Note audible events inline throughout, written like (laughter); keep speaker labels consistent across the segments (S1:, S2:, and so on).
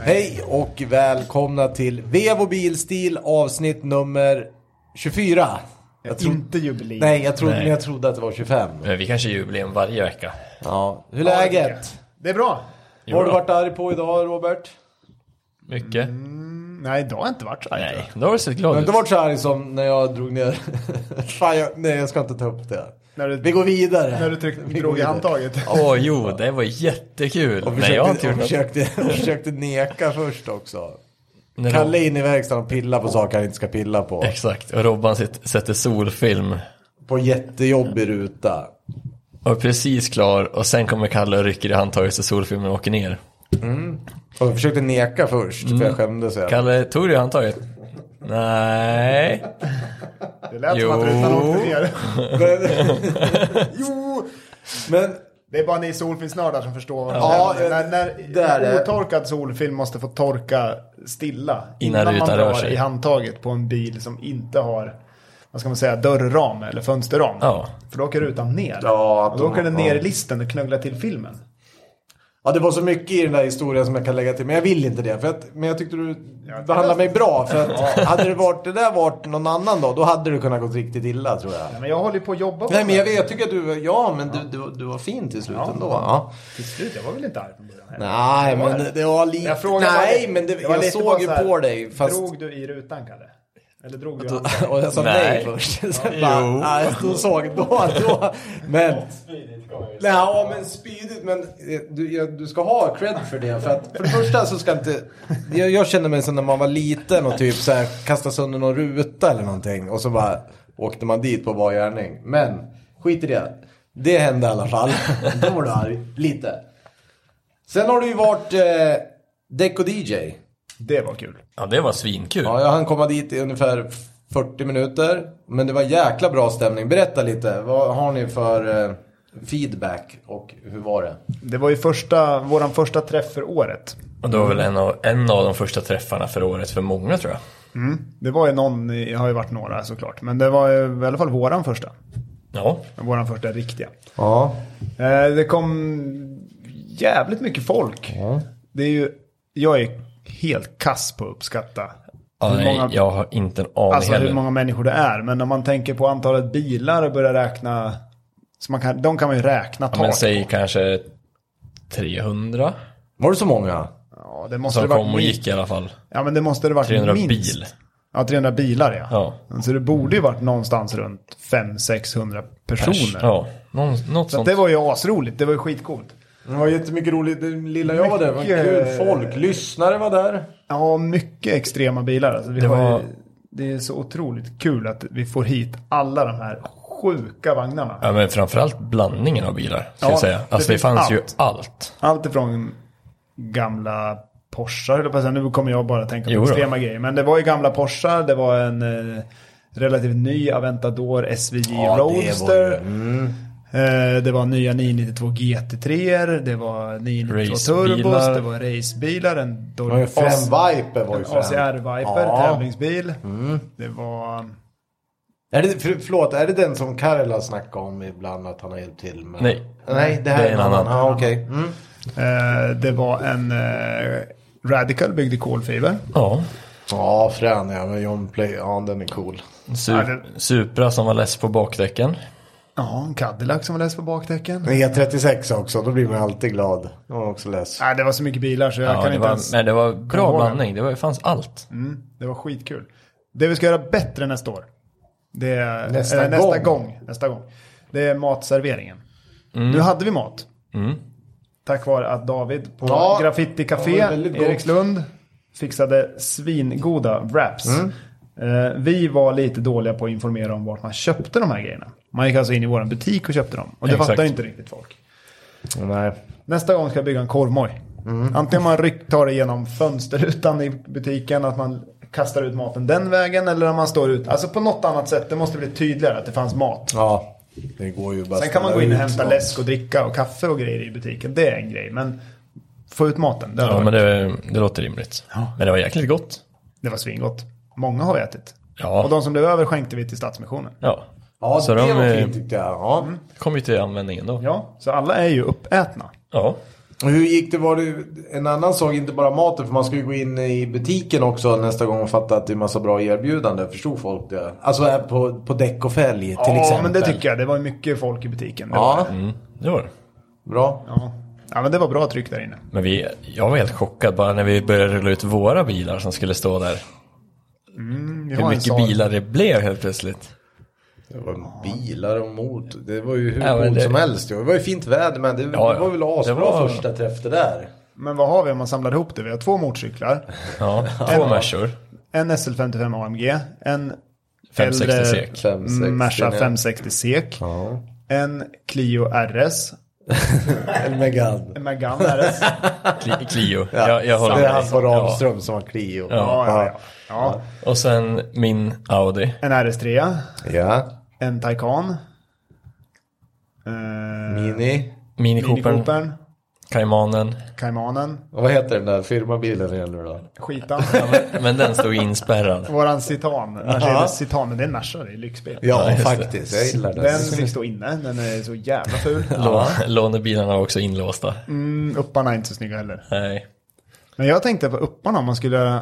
S1: Hej och välkomna till Vevo Bilstil avsnitt nummer 24. Jag tror-
S2: Inte jubileum.
S1: Nej, jag trodde,
S3: Nej.
S1: men jag trodde att det var 25.
S3: Men vi kanske jubileum varje vecka.
S1: Ja. Hur är läget?
S2: Det är bra.
S1: Vad har du
S3: Jo då.
S1: varit arg på idag Robert?
S3: Mycket.
S2: Nej, idag har jag inte varit så arg, tror
S3: Nej,
S2: jag.
S3: då har du sett
S1: Jag har
S3: glad ut.
S1: inte varit så arg som när jag drog ner... (laughs) Fan, jag, nej jag ska inte ta upp det.
S2: När du-
S1: Vi går vidare.
S2: När du tryck,
S1: Vi går
S2: drog i
S1: vidare.
S2: handtaget.
S3: Åh jo, det var jättekul.
S1: Och
S3: Nej, jag har inte
S1: försökte,
S3: gjort
S1: och försökte,
S3: något.
S1: och försökte neka först också.
S3: Nej, då-
S1: Kalle är inne i verkstaden och pillar på saker han inte ska pilla på.
S3: Exakt, och Robban sitt- sätter solfilm.
S1: På jättejobbig ruta.
S3: Och är precis klar och sen kommer Kalle och rycker i handtaget så solfilmen åker ner.
S1: Och jag försökte neka först, för jag skämdes. Jag.
S3: Kalle, tog du i handtaget? Nej.
S2: Det lät
S3: Jo.
S2: som att rutan åkte ner.
S1: Men, (laughs) jo, men
S2: Det är bara ni solfilmsnördar som förstår vad
S1: Ja,
S2: jag menar.
S1: eh,
S2: när, när
S1: där är-
S2: otorkad solfilm måste få torka stilla
S3: Innan
S2: man
S3: rutan rör
S2: drar
S3: sig.
S2: i handtaget på en bil som inte har vad ska man säga, dörrram eller fönsterram.
S3: Ja.
S2: För då åker rutan ner.
S1: Ja,
S2: och då åker den
S1: ja.
S2: ner i listen och knögglar till filmen.
S1: ja, det var så mycket i den där historien som jag kan lägga till. Men jag vill inte det. För att, men jag tyckte du
S2: Ja, det-
S1: behandlade mig bra.
S2: (laughs)
S1: För att, hade det, varit, det där varit någon annan dag, då hade det kunnat gått riktigt illa tror jag.
S2: Men jag håller ju på att jobba på
S1: Nej, men jag,
S2: det.
S1: vet- jag tycker att du, ja, men du, du, du var fin till slut
S2: Ja.
S1: ändå. Ja.
S2: Till slut, jag var väl inte arg från början heller.
S1: Nej, men det, det var lite...
S2: Jag frågade
S1: nej,
S2: bara-
S1: men det,
S2: var
S1: jag,
S2: lite bara
S1: såg ju
S2: så här,
S1: på dig. Fast,
S2: Drog du i rutan, Kalle? Eller drog du i
S1: och, (laughs)
S2: handtaget?
S1: och jag sa nej,
S3: Nej.
S1: först. Så (laughs)
S3: Jo.
S1: bara, nej, jag stod och såg då,
S2: (laughs)
S1: då. Men... Nej, ja, men spydigt. Men eh, du, jag, du ska ha cred för det. För, att, för det första så ska inte... Jag, jag kände mig som när man var liten och typ så här, kastade sönder någon ruta eller någonting. Och så bara åkte man dit på bar gärning. Men skit i det. Det hände i alla fall. Då var du arg. Lite. Sen har du ju varit eh, Deco-DJ.
S2: Det var kul.
S3: Ja, det var svinkul.
S1: Ja, jag hann komma dit i ungefär 40 minuter. Men det var jäkla bra stämning. Berätta lite. Vad har ni för eh, feedback och hur var det?
S2: Det var ju första, våran första träff för året.
S3: Och det var väl en av, en av de första träffarna för året för många tror jag.
S2: Mm. Det var ju någon, det har ju varit några såklart, men det var ju i alla fall våran första.
S3: Ja,
S2: Våran första riktiga.
S1: Ja.
S2: Eh, Det kom jävligt mycket folk. Det är ju, jag är helt kass på att uppskatta
S3: ja
S2: hur
S3: nej,
S2: många,
S3: jag har inte en aning
S2: alltså
S3: heller.
S2: hur många människor det är. Men om man tänker på antalet bilar och börjar räkna, så man kan, de kan man ju räkna
S3: Ja, men
S2: tak.
S3: säg kanske 300
S1: Var det så många?
S2: Ja, det måste
S3: som
S2: det varit
S3: kom och
S2: minst-
S3: gick i alla fall.
S2: Ja, men det måste det varit
S3: 300
S2: minst.
S3: bil.
S2: Ja, 300 bilar ja.
S3: Ja.
S2: Så det borde ju varit någonstans runt 500-600 personer.
S3: Pers, ja, någon, något
S2: Så att
S3: sånt.
S2: det var ju asroligt, det var ju skitcoolt.
S1: Det var jättemycket roligt. Det lilla jag var där. Det var
S2: Mycket-
S1: kul. Folk, lyssnare var där.
S2: Ja, mycket extrema bilar. Alltså, vi
S3: Det
S2: det, har
S3: var-
S2: ju, det är så otroligt kul att vi får hit alla de här sjuka vagnarna.
S3: Ja, men framförallt blandningen av bilar, ska
S2: Ja,
S3: jag säga.
S2: det
S3: Alltså det,
S2: finns
S3: fanns ju
S2: allt.
S3: allt.
S2: Allt ifrån gamla Porschar, höll jag på att säga. nu kommer jag bara tänka på
S3: Jo då.
S2: extrema grejer. Men det var ju gamla Porschar, det var en eh, relativt ny Aventador SVJ
S1: Ja, det var ju- Mm.
S2: Roadster. Det var, det var nya 992 GT3, det var 992 Turbos,
S3: Racebilar.
S2: det var racebilar, en
S1: Det var ju
S2: Dodge
S1: fem Viper var ju
S2: en
S1: fem.
S2: ACR Viper,
S1: Ja. Mm.
S2: tävlingsbil. Det var...
S1: Är det, för, förlåt, är det den som Karel har snackat om ibland att han har hjälpt till med?
S3: Nej.
S1: Nej, det här
S3: Det
S1: är en annan. Ja, okej. Mm.
S2: Eh, det var en eh, Radical byggd i kolfiber.
S3: Ja,
S1: Ja, frän ja. Men John Play, ja den är cool.
S3: Su
S2: Ja, det-
S3: Supra som var less på bakdäcken.
S2: Ja, en Cadillac som var läst på bakdäcken.
S1: E36 också, då blir man alltid glad. Jag var också less.
S2: Nej, det var så mycket bilar så jag
S3: Ja,
S2: kan
S3: det
S2: inte
S3: var,
S2: ens...
S3: men det var bra
S2: ihåg den.
S3: blandning, det var, det fanns allt.
S2: Mm, det var skitkul. Det vi ska göra bättre nästa år. Det är,
S1: Nästa
S2: eller nästa
S1: gång.
S2: gång. Nästa gång. Det är matserveringen.
S3: Mm.
S2: Nu hade vi mat. Tack vare att David på
S1: Ja,
S2: Graffiti Café,
S1: det var väldigt gott.
S2: Erikslund, fixade svingoda wraps.
S3: Mm.
S2: Eh, Vi var lite dåliga på att informera om vart man köpte de här grejerna. Man gick alltså in i vår butik och köpte dem. Och det
S3: Exakt.
S2: fattar inte riktigt folk.
S1: Nej.
S2: Nästa gång ska jag bygga en korvmoj. Antingen man ryck, tar det genom fönsterrutan i butiken, att man kastar ut maten den vägen eller om man står ut. Alltså på något annat sätt, det måste bli tydligare att det fanns mat.
S1: Ja, det går ju bara
S2: Sen kan man gå in och hämta läsk och dricka och kaffe och grejer i butiken. Det är en grej, men få ut maten. Det,
S3: Ja,
S2: var,
S3: men det, det låter rimligt. Men det var jäkligt gott.
S2: det var svingott. Många har ätit.
S3: Ja.
S2: Och de som blev över skänkte vi till Stadsmissionen.
S3: Ja,
S1: Ja,
S3: så
S1: det
S3: de
S1: var
S3: eh,
S1: fint tyckte jag. Ja.
S3: kom ju till användning ändå.
S2: Ja, så alla är ju uppätna.
S3: Ja.
S1: Och Hur gick det? Var det en annan sak, inte bara maten, för man ska ju gå in i butiken också nästa gång och fatta att det är massa bra erbjudanden. Förstod folk det? Alltså här på, på däck och fälg till
S2: Ja,
S1: exempel.
S2: men det tycker jag. Det var ju mycket folk i butiken. Det var
S1: Ja,
S2: det.
S3: Mm, det var det.
S1: bra.
S2: ja. Ja, men det var bra tryck där inne.
S3: Men vi, jag var helt chockad bara när vi började rulla ut våra bilar som skulle stå där.
S2: Mm, Vi har
S3: Hur
S2: en
S3: mycket
S2: sal.
S3: bilar det blev helt plötsligt.
S1: Det var bilar och mot. Det var ju hur
S3: Ja, men
S1: coolt
S3: det-
S1: som helst. ju. Det var ju fint väder, men det,
S3: Ja,
S1: det
S3: ja.
S1: var väl asbra
S3: Det var-
S1: första träff det där.
S2: Men vad har vi om man samlar ihop det? Vi har två motorcyklar,
S3: Ja, två Mercor.
S2: en SL55 AMG, en
S3: 560
S2: äldre mm,
S3: sek.
S1: 560,
S2: Merca
S1: ja.
S2: 560 SEK,
S1: (laughs)
S2: en Clio RS,
S1: En Megane.
S2: en Megane RS.
S3: Cli- Clio. Jag, jag håller
S1: Det är
S3: med.
S1: han
S2: alltså-
S1: på
S3: Ja.
S1: Ramström som har Clio.
S2: Ja, ja, ja. ja.
S3: Och sen min Audi.
S2: En RS3,
S1: Ja.
S2: en Taycan, eh,
S1: Mini.
S3: Mini
S2: Mini
S3: Coopern.
S2: Coopern,
S3: Caymanen.
S2: Caymanen,
S1: Och Vad heter den där firmabilen igen nu då?
S2: skitan.
S3: Men den stod (laughs) inspärrad.
S2: Våran Citan. Alltså, det är Citan, men det är en Merca, det är lyxbil.
S1: Ja,
S3: just det.
S1: faktiskt. Jag gillar den.
S2: Den fick stå inne, den är så jävla ful.
S3: Lå, lånebilarna var också inlåsta.
S2: Mm, upparna är inte så snygga heller.
S3: Nej.
S2: Men jag tänkte på upparna, om man skulle göra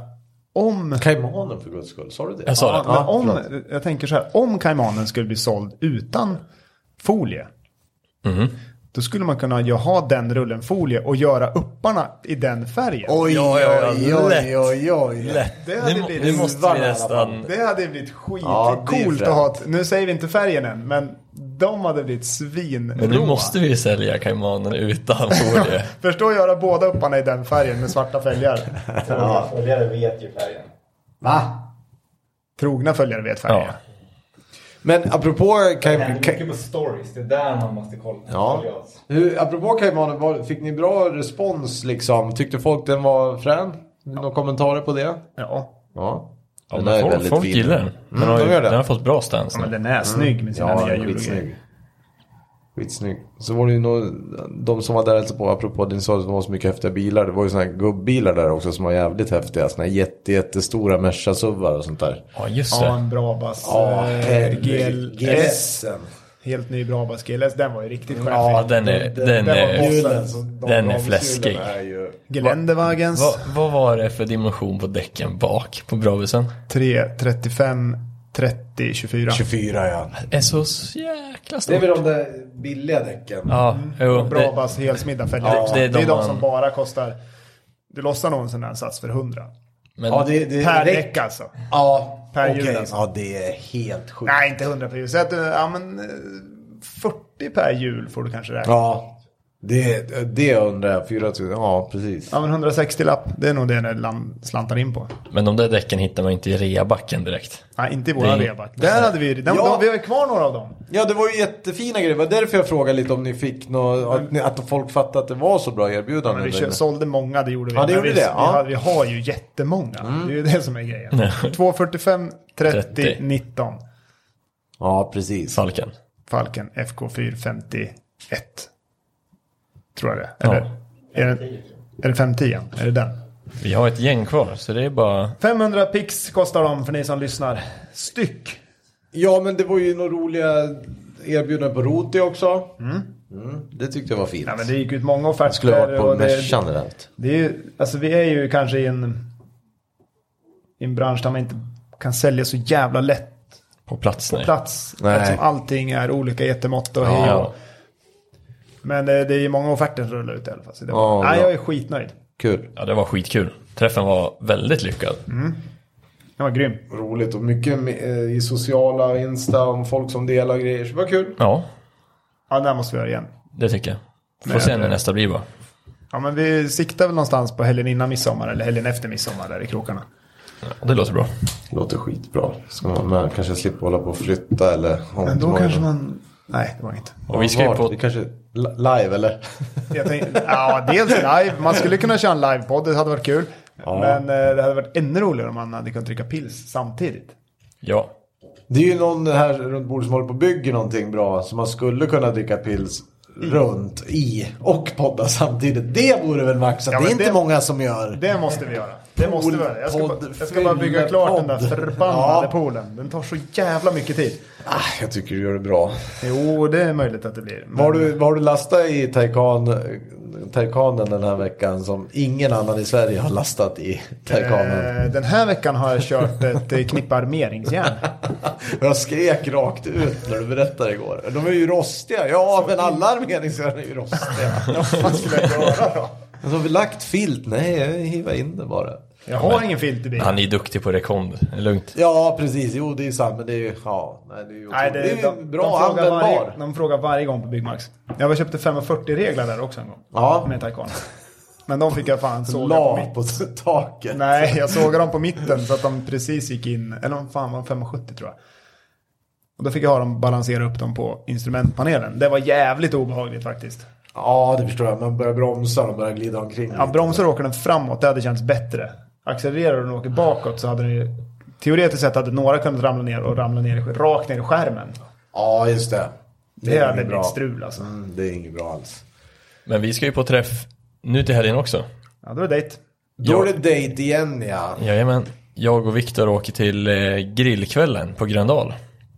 S2: om...
S1: Kaimanen för guds skull, sa du det?
S3: Jag sa det.
S2: men om jag tänker så här, om kaimanen skulle bli såld utan folie.
S1: Mhm.
S2: Då skulle man kunna ju ha den rullen folie och göra upparna i den färgen.
S1: Oj,
S3: Ja, ja,
S1: oj,
S3: ja,
S1: oj,
S3: lätt.
S1: oj, oj.
S3: Lätt.
S2: Det hade
S3: Nu,
S2: blivit
S3: nu måste
S1: svalg
S3: vi
S1: i alla
S3: nästan...
S2: Det hade blivit
S1: Ja, det är
S2: skitcoolt
S1: fränt.
S2: att ha ett, Nu säger vi inte färgen än, men de hade blivit svin.
S3: Men nu måste vi ju sälja Caymanen (laughs) utan folie.
S2: Förstå att göra båda upparna i den färgen med
S1: (laughs)
S2: svarta fälgar.
S4: Ja. Följare vet ju färgen.
S2: Va? Trogna följare vet färgen.
S3: Ja.
S1: Men apropå
S4: Det händer
S1: Kaimanen.
S4: mycket på stories, det är där man måste kolla.
S1: Ja.
S4: Följa oss.
S1: Hur, apropå Kaimanen, vad- fick ni bra respons liksom? Tyckte folk den var frän? Några kommentarer på det?
S2: ja.
S1: Ja.
S3: Ja,
S1: Den
S3: men
S1: är
S3: folk
S1: väldigt
S3: folk
S1: fin.
S3: gillar den. Den,
S1: Mm,
S3: har ju,
S1: de gör det.
S3: den har fått bra stance
S2: Ja, men
S3: nu.
S2: den är snygg med sina
S1: Ja,
S2: nya
S1: den är
S2: julgrejer.
S1: skitsnygg. Skitsnygg. Så var det ju nog, de som var där och hälsade på, apropå din sa att det var så mycket häftiga bilar. Det var ju såna här gubbilar där också som var jävligt häftiga. Såna här jätte, jättestora Merca-suvar och sånt där.
S3: Ja, just
S2: Ja,
S3: det.
S2: en Brabas
S1: Ja,
S2: eh,
S1: herregud.
S2: GLS. Helt ny Brabas GLS. Den var ju riktigt skäftig.
S3: Ja, den är... Den
S2: var
S3: är
S2: bossen.
S3: den är fläskig.
S2: Geländewagens.
S3: vad, vad var det för dimension på däcken bak på Brabisen?
S2: 3, 35, 30, 24.
S1: 24 ja.
S3: Det är så s- jäkla
S1: Det är
S3: stort.
S1: väl de där billiga däcken.
S3: Ja, jo, det,
S2: Brabas helsmidda fälgar.
S3: Ja,
S2: också.
S3: det
S2: det
S3: är
S2: är de,
S3: de man-
S2: som bara kostar. Du lossar någon sån där sats för 100.
S3: men
S1: Ja, det, det
S2: Per
S1: det-
S2: däck alltså.
S1: Ja,
S2: Per
S1: okej.
S2: hjul alltså.
S1: Ja, det är helt sjukt.
S2: Nej, inte 100 per hjul. Säg att du, ja men eh, 40 per hjul får du kanske räkna.
S1: Ja, det, det undrar jag. 4000, ja precis.
S2: Ja men 160 lapp, det är nog det den lan- slantar in på.
S3: Men de där däcken hittar man inte i reabacken direkt.
S2: Nej, inte i våran
S3: Det-
S2: reback. Där hade vi, den,
S1: Ja.
S2: de, vi har ju kvar några av dem.
S1: Ja, det var ju jättefina grejer. Det var därför jag frågade lite om ni fick något, att, ni- att folk fattade att det var så bra erbjudanden.
S2: Men vi
S1: där
S2: kö-
S1: inne.
S2: sålde många, det gjorde vi.
S1: Ja, det
S2: Men
S1: gjorde
S2: vi,
S1: det,
S2: Vi,
S1: ja. Mm.
S2: har, vi har ju jättemånga. Det är ju det som är grejen. (laughs) 245, 30,
S3: 30.
S2: 19.
S1: Ja, precis.
S3: Falken.
S2: Falken FK451. Tror jag det är.
S3: Ja.
S2: Eller? Är, det, är det 510? Är det den?
S3: Vi har ett gäng kvar, så det är bara...
S2: 500 pix kostar de för ni som lyssnar. Styck.
S1: Ja, men det var ju några roliga erbjudanden på Roti också. Mm, Det tyckte jag var fint.
S2: Ja, men det gick ut många offerter.
S1: Skulle ha varit på
S2: och det-
S1: Mercan eller något.
S2: Det är ju, alltså vi är ju kanske i en, i en bransch där man inte kan sälja så jävla lätt
S3: På plats nu.
S2: plats.
S1: Nej.
S2: Eftersom allting är olika jättemått och hej och
S3: Ja.
S2: Men eh, det, det är ju många offerter som rullar ut i alla fall. Så det
S1: Ja,
S2: var, nej,
S1: bra.
S2: jag är skitnöjd.
S1: Kul.
S3: ja, det var skitkul. Träffen var väldigt lyckad.
S2: Den var grym.
S1: Roligt och mycket eh, i sociala Insta om folk som delar grejer. Så det var kul.
S3: Ja,
S2: Ja, den här måste vi göra igen.
S3: det tycker jag. Får
S2: Men-
S3: se när nästa blir bara.
S2: Ja, men vi siktar väl någonstans på helgen innan midsommar eller helgen efter midsommar där i krokarna.
S3: Ja, Det låter bra.
S1: Låter skitbra. Ska man vara med? Kanske slippa hålla på och flytta eller...
S2: Men då kanske man... Nej, det var inget.
S3: Och vi ska ju
S1: Vart?
S3: på...
S1: Det kanske... li- Live eller? (laughs)
S2: Jag tänkte, ja, dels live. Man skulle kunna köra en livepodd, det hade varit kul. Men eh, det hade varit ännu roligare om man hade kunnat dricka pils samtidigt.
S3: Ja.
S1: Det är ju någon här runt bordet som håller på och bygger någonting bra som man skulle kunna dricka pils
S2: Mm.
S1: runt i och podda samtidigt. Det vore väl max att
S2: Ja,
S1: det är
S2: men
S1: inte
S2: det-
S1: många som gör.
S2: Det måste vi göra. Det måste vara det. Jag ska, bara, jag ska bara bygga klart den där förbannade poolen. Den tar så jävla mycket tid.
S1: Ah, jag tycker du gör det bra.
S2: Jo, det är möjligt att det blir. Men
S1: Vad har du, vad har du lastat i Taycan, Taycanen den här veckan som ingen annan i Sverige har lastat i Taycanen?
S2: eh, den här veckan har jag kört ett eh,
S1: (laughs)
S2: knippe armeringsjärn.
S1: Jag skrek rakt ut när du berättade igår. De är ju rostiga. Ja, men alla armeringsjärn är ju (laughs) rostiga.
S2: Vad skulle jag göra då?
S1: Men så har vi lagt filt? Nej, jag hivar in det bara.
S2: Jag har ingen filt i bilen.
S3: Han är ju duktig på rekond, det är lugnt.
S1: Ja, precis. Jo, det är sant. Men det är ju... Ja, nej, det är ju
S2: Nej,
S1: det är ju
S2: de-
S1: bra
S2: de frågar
S1: användbar.
S2: varje, de frågar varje gång på Byggmax. Jag var köpte 540 reglar där också en gång.
S1: Ja.
S2: Med Taycan. Men de fick jag fan såga på
S1: La
S2: mitten.
S1: på (laughs) taket.
S2: Nej, jag sågade dem på mitten så att de precis gick in. Eller om fan var de 570 tror jag. Och då fick jag ha dem balansera upp dem på instrumentpanelen. Det var jävligt obehagligt faktiskt.
S1: Ja, det förstår jag. Man börjar bromsa och börjar glida omkring.
S2: Ja, bromsar åker den framåt, det hade känts bättre. Accelererar den och åker bakåt så hade den ju... Teoretiskt sett hade några kunnat ramla ner och ramla ner, i- rakt ner i skärmen.
S1: ja just det.
S2: Det
S1: är
S2: hade
S1: inget
S2: blivit strul alltså.
S1: Mm, det är inget bra alls.
S3: Men vi ska ju på träff nu till helgen också.
S2: Ja, då är det dejt.
S1: Då
S3: Ja.
S1: är det dejt igen ja.
S3: Jajamän. Jag och Viktor åker till eh, grillkvällen på Gröndal.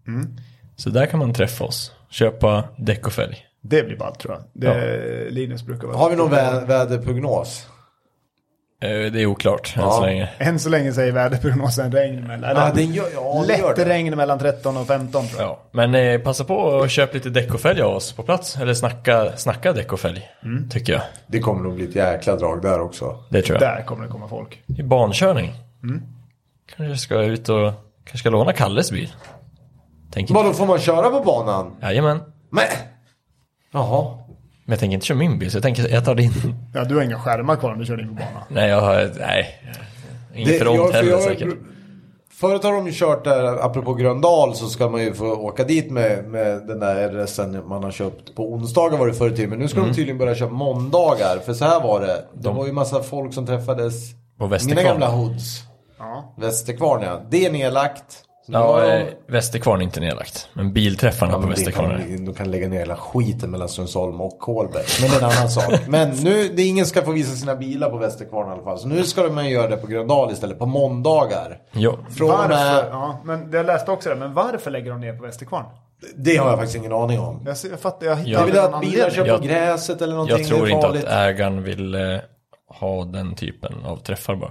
S3: Mm. Så där kan man träffa oss, köpa däck och fälg.
S2: Det blir ballt tror jag. Det Linus brukar vara.
S1: Har vi någon vä- väderprognos?
S3: Eh, Det är oklart än
S1: Ja.
S3: så länge.
S2: Än så länge säger väderprognosen regn mellan... eller
S1: Ja, den gör, ja, den gör
S2: lätt
S1: det.
S2: regn mellan 13 och 15 tror jag.
S3: Ja. Men eh, passa på och köp lite däck och fälg av oss på plats. Eller snacka, snacka däck och fälg,
S1: Mm.
S3: tycker jag.
S1: det kommer nog bli ett jäkla drag där Mm. också.
S3: Det tror jag.
S2: Där kommer det komma folk.
S3: Det är barnkörning. Kanske ska jag ut och kanske ska låna Kalles bil. Tänker
S1: Vadå, får man köra på banan?
S3: Jajamän.
S1: Men. Jaha.
S3: Men jag tänker inte köra min bil, så jag tänker jag tar din. (laughs)
S2: Ja, du har inga skärmar kvar om du kör in på banan.
S3: Nej, jag har... Nej. Ingen
S1: Det-
S3: front
S1: jag- för
S3: heller
S1: jag-
S3: säkert.
S1: Förut har de ju kört där, apropå Gröndal, så ska man ju få åka dit med, med den där RSen man har köpt på onsdagar var det förr i tiden. Men nu ska
S3: Mm.
S1: de tydligen börja köra måndagar. För så här var det. Det var ju massa folk som träffades.
S3: På Västerkvarn.
S1: Mina gamla hoods.
S2: Ja.
S1: Västerkvarn ja. Det är nedlagt. Så nu har
S3: Ja,
S1: de-
S3: eh, Västerkvarn är inte nedlagt. Men bilträffarna
S1: Ja,
S3: på
S1: men det
S3: Västerkvarn är
S1: kan- De kan lägga ner hela skiten mellan Sundsholm och Kolberg. Men det är en annan sak. Men nu, det är ingen ska få visa sina bilar på Västerkvarn i alla fall. Så nu ska man göra det på Gröndal istället. På måndagar.
S3: Ja.
S1: Från eh, och
S2: Varför?
S1: med...
S2: Ja, men jag läste också det. Men varför lägger de ner på Västerkvarn?
S1: Det har jag faktiskt ingen aning om.
S2: Jag, ser- jag fattar, jag hittar
S1: Jag vill
S2: aldrig
S1: att
S2: någon
S1: bilar
S2: anledning.
S1: kör på
S3: Jag-
S1: gräset eller någonting.
S3: Jag tror
S1: det är
S3: inte att
S1: farligt.
S3: ägaren vill eh, ha den typen av träffar bara.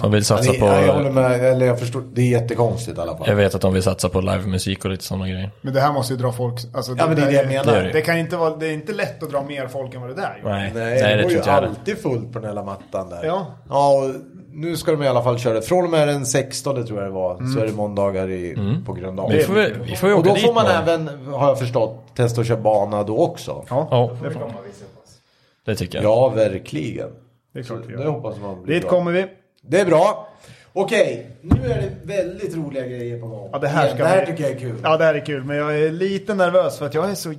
S3: De vill satsa
S1: Nej,
S3: alltså på...
S1: nej, jag håller med. Eller jag förstår. Det är jättekonstigt i alla
S3: Jag
S1: fall.
S3: vet att de vill satsa på livemusik och lite sådana grejer.
S2: Men det här måste ju dra folk. Alltså,
S1: Ja men det är det jag menar.
S3: det gör
S2: Det, kan inte vara, det är inte lätt att dra mer folk än vad det där gör.
S3: Nej,
S1: Nej, det
S3: tror
S1: var ju
S3: inte jag heller.
S1: alltid fullt på den hela mattan där.
S2: Ja.
S1: ja och nu ska de i alla fall köra det. Från och med den 16 tror jag det var.
S2: Mm.
S1: Så är det måndagar i, på Gröndal.
S3: Mm. Vi får, väl- vi får ju
S1: Och
S3: åka
S1: då
S3: dit
S1: får man
S3: någon.
S1: även, har jag förstått, testa att köra bana då också. Ja,
S2: Ja,
S3: Ja,
S2: det, får man.
S3: det tycker jag.
S1: verkligen.
S2: det är klart vi
S1: Det
S2: gör.
S1: hoppas man blir
S2: Dit
S1: bra.
S2: kommer vi.
S1: Det är bra. Okej, nu är det väldigt roliga grejer på gång.
S2: Ja, det här, ska
S1: det här
S2: bli-
S1: tycker jag är kul.
S2: Ja, det här är kul. Men jag är lite nervös för att jag är så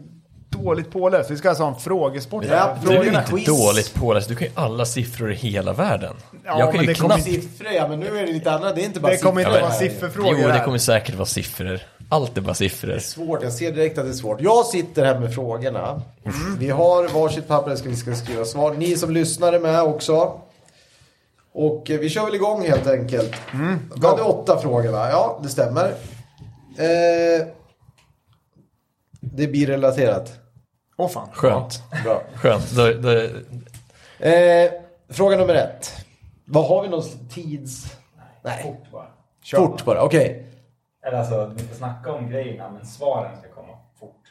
S2: dåligt påläst. Vi ska alltså ha en frågesport. här.
S1: Ja,
S3: Du är ju
S1: Frågorna,
S3: inte
S1: quiz.
S3: dåligt påläst, du kan ju alla siffror i hela världen.
S2: Ja,
S3: jag kan
S2: men
S3: ju
S2: det kommer
S3: knappt...
S1: Siffror ja, men nu är det lite annat. Det är inte bara
S2: Det kommer
S1: siffror.
S2: inte vara
S1: här.
S2: sifferfrågor
S3: Jo, det
S2: här.
S3: kommer säkert vara siffror. Allt är bara siffror.
S1: Svårt, jag ser direkt att det är svårt. Jag sitter här med frågorna. Vi har varsitt papper där vi ska skriva svar. Ni som lyssnar är med också. Och eh, vi kör väl igång helt enkelt. Vi hade åtta frågor va? Ja, det stämmer. Eh, det blir relaterat.
S2: Åh fan.
S3: Skönt.
S1: Bra.
S3: Skönt. Då, då,
S1: Eh, fråga nummer ett. Vad har vi någon tids... Nej.
S4: Fort bara.
S1: Fort bara, okej.
S4: Eller alltså, vi får snacka om grejerna, men svaren ska komma fort.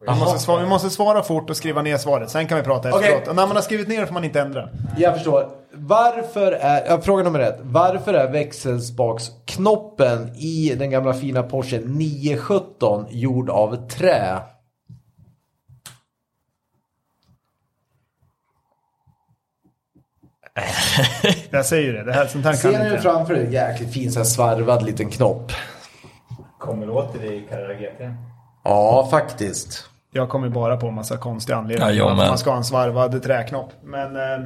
S2: Vi måste, svara, vi måste svara fort och skriva ner svaret. Sen kan vi prata
S1: Okej.
S2: efteråt. Och när man har skrivit ner får man inte ändra.
S1: Jag förstår. Varför är, ja, fråga nummer ett. Varför är växelspaksknoppen i den gamla fina Porsche 917 gjord av trä?
S2: Jag säger ju det. det här, sånt här kan
S1: Ser ni
S2: inte
S1: den
S2: ändra.
S1: framför er? Jäkligt fin så här svarvad liten knopp.
S4: Kommer åt det i Carrera GT?
S1: Ja, faktiskt.
S2: Jag kommer bara på en massa konstiga
S3: Ja,
S2: anledningar.
S3: jag
S2: Varför
S3: med.
S2: man ska ha en svarvad träknopp. Men... Eh,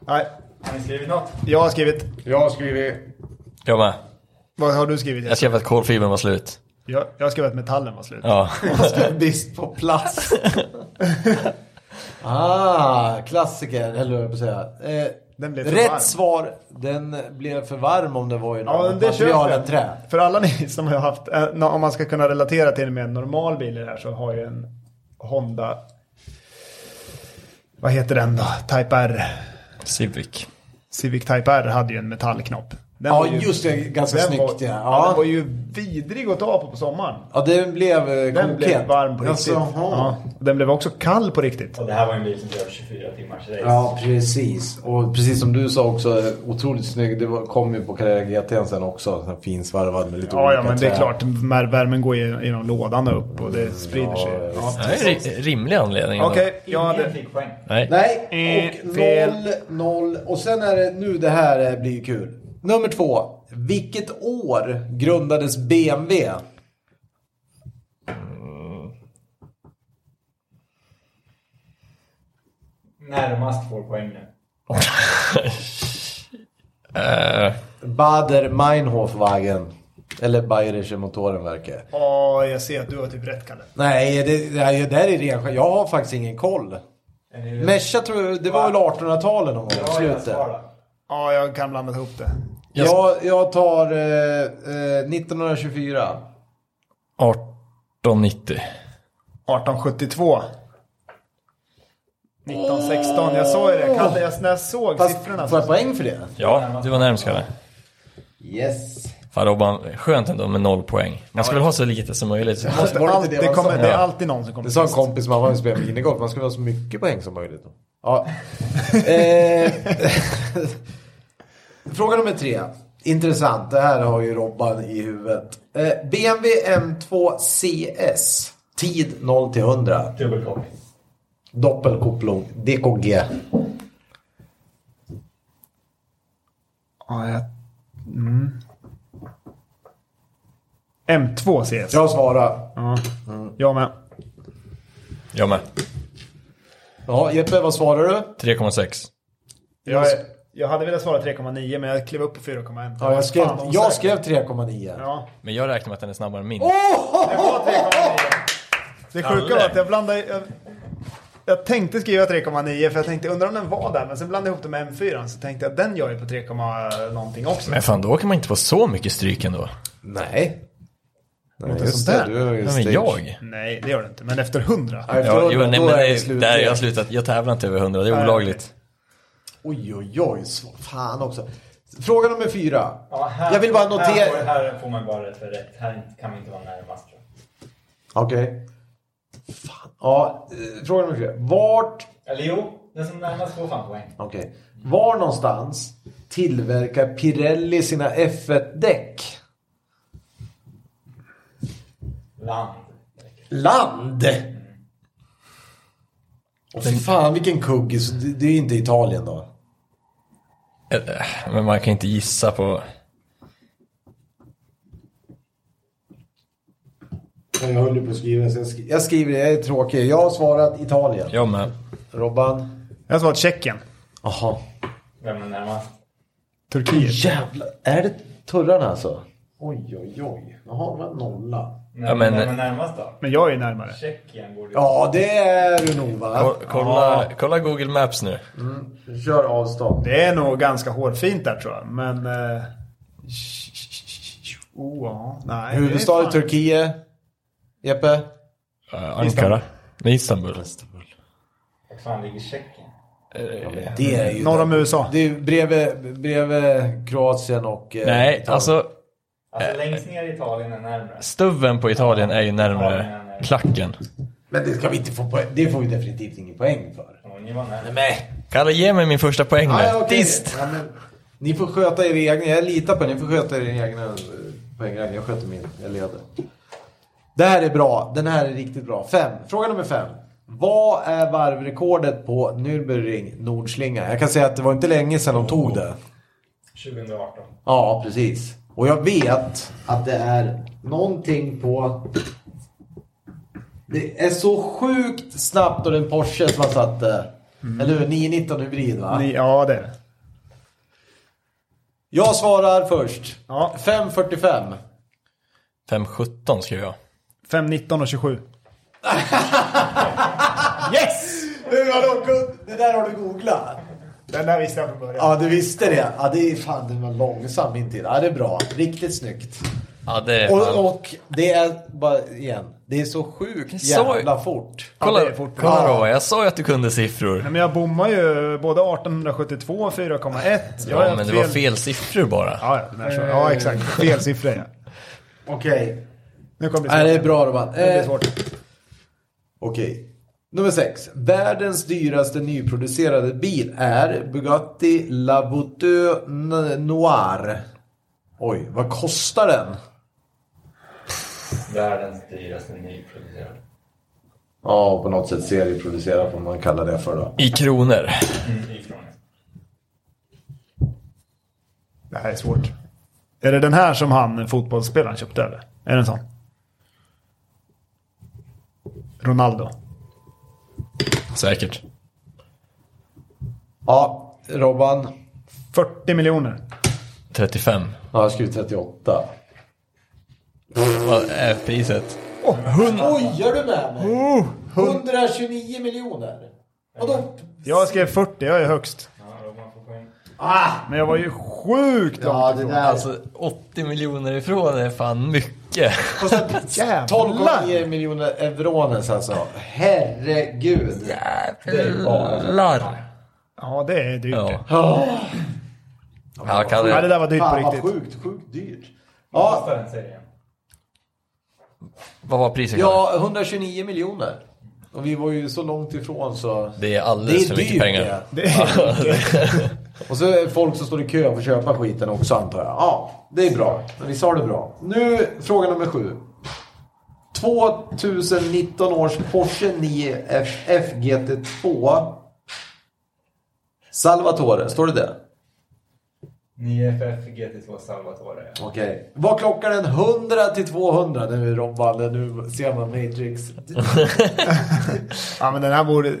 S2: nej,
S4: Har ni skrivit något?
S2: jag har skrivit.
S1: Jag har skrivit...
S3: jag med.
S2: Vad har du skrivit?
S3: Jag skrev att kolfibern var slut.
S2: Jag, jag har skrivit att metallen var slut.
S3: Ja.
S1: Jag skrev brist på plast. (laughs) Ah, klassiker. Eller vad jag säga. Eh,
S2: Den blev för
S1: rätt
S2: varm.
S1: svar. Den blev för varm om det var i
S2: Ja,
S1: något
S2: men det
S1: material
S2: köper
S1: än trä.
S2: jag. För alla ni (laughs) som har haft, eh, nå- om man ska kunna relatera till med en normal bil i det här så har ju en Honda, vad heter den då? Type R,
S3: Civic.
S2: Civic Type R hade ju en metallknopp. Den
S1: Ja,
S2: var ju-
S1: just det. Ganska
S2: den
S1: snyggt.
S2: var,
S1: ja.
S2: ja. Den
S1: Ja.
S2: var ju vidrig att ta på på sommaren.
S1: ja, den blev eh,
S2: Den blev
S1: konkret.
S2: varm på riktigt.
S1: Alltså,
S2: Ja, och den blev också kall på riktigt.
S4: Och det här var en bil som blev 24 timmars race.
S1: Ja, precis. Och precis som du sa också, otroligt snygg. Det var- kom ju på Carrera GT sen också. sån här Finsvarvad med lite
S2: Ja, ja,
S1: olika
S2: men det är
S1: trä.
S2: klart. när Värmen går ge- genom lådan och upp och det sprider
S1: ja,
S2: sig. Ja.
S3: Det är en ri- rimlig anledning. ändå.
S2: Okej, jag
S4: Ingen
S2: hade...
S4: fick poäng.
S3: Nej.
S1: Nej,
S2: Eh,
S1: och
S2: fel.
S1: 0, 0. Och sen är det nu det här eh, blir ju kul. Nummer två. Vilket år grundades BMW?
S4: Närmast får poäng nu.
S3: Eh,
S1: Bader Meinhofwagen. Eller Bayerische Motorenwerke.
S2: Ja, jag ser att du har typ rätt, Kalle.
S1: Nej, det, det, här, det här är ren skit. Jag har faktiskt ingen koll.
S4: Är ni-
S1: Mesha tror jag, det var väl 1800-talet någon gång?
S4: Ja, jag
S1: Slutet.
S4: svarar.
S2: Ja, jag kan blanda ihop det.
S1: Jag, jag tar eh, eh, 1924.
S3: 1890.
S2: 1872. 1916, jag sa ju det. Kalle, jag, när jag såg
S1: Fast,
S2: siffrorna.
S1: får jag poäng för det?
S3: Ja, du var närmst Kalle.
S1: Yes.
S3: Fan Robban, skönt ändå med noll poäng. Man ska väl ha så lite som möjligt.
S1: Måste, Alltså, var det, inte
S2: Alltid
S1: det, man sa?
S2: kommer, det är
S3: Ja.
S2: alltid någon som kommer
S1: Det sa en
S2: sist.
S1: kompis man var ju spelade minigolf. Man skulle ha så mycket poäng som möjligt. Då. Ja. (laughs) Eh, (laughs) Fråga nummer tre. Intressant. Det här har ju Robban i huvudet. Eh, BMW M2 CS. Tid 0 till 100.
S4: Dubbelkoppling.
S1: Doppelkoppling. DKG.
S2: Ja, jag... mm. M2 CS.
S1: Jag svarar.
S2: Ja. Jag med.
S3: Jag med.
S1: Ja, Jeppe, vad svarar du?
S3: 3,6.
S2: Jag, jag hade velat svara 3,9 men jag klev upp på 4,1.
S1: Ja, jag skrev,
S2: Fan, vad
S1: jag
S2: osäker.
S1: skrev 3,9.
S2: Ja.
S3: Men jag räknar med att den är snabbare än min.
S2: Det var 3,9. Det sjuka var att jag blandade... Jag, jag tänkte skriva 3,9 för jag tänkte undrar om den var där men sen blandade jag ihop det med M4 så tänkte jag den gör ju på 3, någonting också.
S3: Men fan, då kan man inte få så mycket stryk ändå.
S1: Nej. Nej, just
S2: sånt där.
S1: det. Du har ju
S3: Ja, men
S1: stage.
S3: jag?
S2: Nej, det gör det inte. Men efter 100.
S1: Ja, efter
S3: Ja, jo,
S1: hundra,
S3: nej,
S1: då
S3: men
S1: är det
S3: det,
S1: slut.
S3: där, jag har slutat. Jag tävlar inte över 100, det är
S2: Nej.
S3: olagligt.
S1: Oj, oj, oj. så- Fan också. Fråga nummer fyra.
S4: Ja, här-
S1: jag vill bara
S4: Här får,
S1: notera...
S4: här får man bara rätt för rätt. Här kan vi inte vara närmast. tror jag.
S1: Okej. Fan. Ja, eh, fråga nummer fyra. Vart...
S4: Eller jo, den som närmast får fan poäng.
S1: Okej. Var någonstans tillverkar Pirelli sina F1-däck?
S4: Land.
S1: Land! Åh fy fan vilken kuggis. Det, det är ju inte Italien då.
S3: Eh, Men man kan inte gissa på...
S1: Jag höll ju på att skriva. så Jag, skri- jag skriver det. Jag är tråkig. Jag har svarat Italien.
S3: Jag med.
S1: Robban?
S2: Jag har svarat Tjeckien.
S1: Jaha.
S4: Vem är närmast?
S2: Turkiet.
S1: Jävlar. Är det turrarna alltså? Oj, oj, oj. Jaha, det var en nolla.
S4: Nej,
S3: Ja, men-
S4: Vem är närmast då?
S2: Men jag är ju närmare.
S4: Tjeckien borde ju...
S1: Ja, det är du nog va?
S3: Ko- Kolla, kolla Google Maps nu.
S1: Kör avstånd.
S2: Det är nog ganska hårfint där tror jag. Men... Eh... Oh, ja. Nej, det är
S1: Huvudstad i
S2: fan-
S1: Turkiet. Jeppe? Ah,
S3: Eh, Ankara. Nej, Istanbul.
S4: Var fan ligger Tjeckien?
S3: Eh,
S1: Det är ju...
S2: Norr om USA.
S1: Det är ju bredvid, bredvid Kroatien och... eh,
S3: Nej,
S1: Italien.
S3: alltså
S4: Alltså längst ner i Italien är närmare.
S3: stuven på Italien är ju
S4: Italien
S3: närmare
S4: är-
S3: klacken.
S1: Men det ska vi inte få poäng. Det får vi definitivt ingen poäng för.
S4: Och ni var närmast.
S1: Nej.
S3: Kalle, ge mig min första poäng nu.
S1: Ah, okay.
S3: Tyst!
S1: ja, men, ni får sköta er egna. Jag litar på er. Ni får sköta er egna eh, poängräkning. Jag sköter min. Jag leder. Det här är bra. Den här är riktigt bra. Fem. Fråga nummer fem. Vad är varvrekordet på Nürburgring Nordslinga? Jag kan säga att det var inte länge sedan de tog det.
S4: 2018.
S1: Ja, precis. Och jag vet att det är någonting på... Det är så sjukt snabbt och det är en Porsche som har satt det. Eller hur? 919 hybrid va?
S2: Ni, ja, det är det.
S1: Jag svarar först.
S2: Ja.
S1: 5.45.
S3: 5.17 skrev jag. (laughs)
S2: 5, 19 och 27. yes!
S1: Hur har de kun- Det där har du googlat?
S2: Den där visste jag från början.
S1: Ja, du visste det. Ja, det är fan, den var långsam min tid. Ja, det är bra. Riktigt snyggt.
S3: Ja, det är fan.
S1: Och, och det är bara igen. Det är så sjukt
S3: Så-
S1: jävla fort.
S3: Kolla,
S2: Ja, det är fort.
S3: kolla
S1: Ja.
S3: då, jag sa ju att du kunde siffror.
S2: Nej, men jag bommar ju både 1872 och 4,1. Jag har
S3: Ja,
S2: haft
S3: men det var fel Eh. siffror bara.
S2: Ja, ja, den där så. ja exakt. Fel siffror ja.
S1: Okej.
S2: Nu kommer det bli
S1: Nej, det är
S2: svårt.
S1: bra Robban.
S2: Det blir
S1: Eh,
S2: svårt.
S1: Okej. Nummer sex. Världens dyraste nyproducerade bil är Bugatti La Voiture N- Noir. Oj, vad kostar den?
S4: Världens dyraste nyproducerade.
S1: Ja, på något sätt serieproducerad får man kalla det för då.
S3: I kronor.
S4: Ifrån.
S2: Det här är svårt. Är det den här som han, fotbollsspelaren, köpte eller? Är det en sån? Ronaldo.
S3: Säkert.
S1: Ja, Robban.
S2: 40 miljoner.
S3: 35.
S1: Ja, jag har skrivit 38.
S3: Vad är priset?
S1: Skojar du med mig? 129 miljoner. Vadå?
S2: Jag skrev 40, jag är högst.
S4: Ja, Robban får poäng.
S2: Men jag var ju sjukt
S1: Ja,
S2: långt
S1: det
S2: ifrån.
S1: där alltså.
S3: Alltså 80 miljoner ifrån är fan mycket.
S2: Jävlar!
S1: 12,9 miljoner eurones alltså. Herregud.
S3: Jävlar.
S2: Ja, det är dyrt det.
S3: Ja. Ja, kan
S2: Nej, det
S3: du,
S2: där var dyrt
S1: Fan
S2: på
S1: Ah, vad
S2: riktigt.
S1: sjukt, sjukt dyrt.
S4: Vad
S1: Ja,
S4: kostar den serien?
S3: vad var priset?
S1: ja, 129 miljoner. Och vi var ju så långt ifrån så...
S3: Det är alldeles för mycket pengar.
S1: det.
S2: Det är,
S1: Och så är det folk som står i kö för att köpa skiten också antar jag. Ja, det är bra. Men Vi sa det bra. Nu fråga nummer sju. 2019 års Porsche 9 FGT2. Salvatore, står det det?
S4: 9FF GT2 Salvatore. ja.
S1: Okej. Vad klockar den 100 till 200 nu Robban? Nu ser man Matrix.
S2: ja, men den här borde...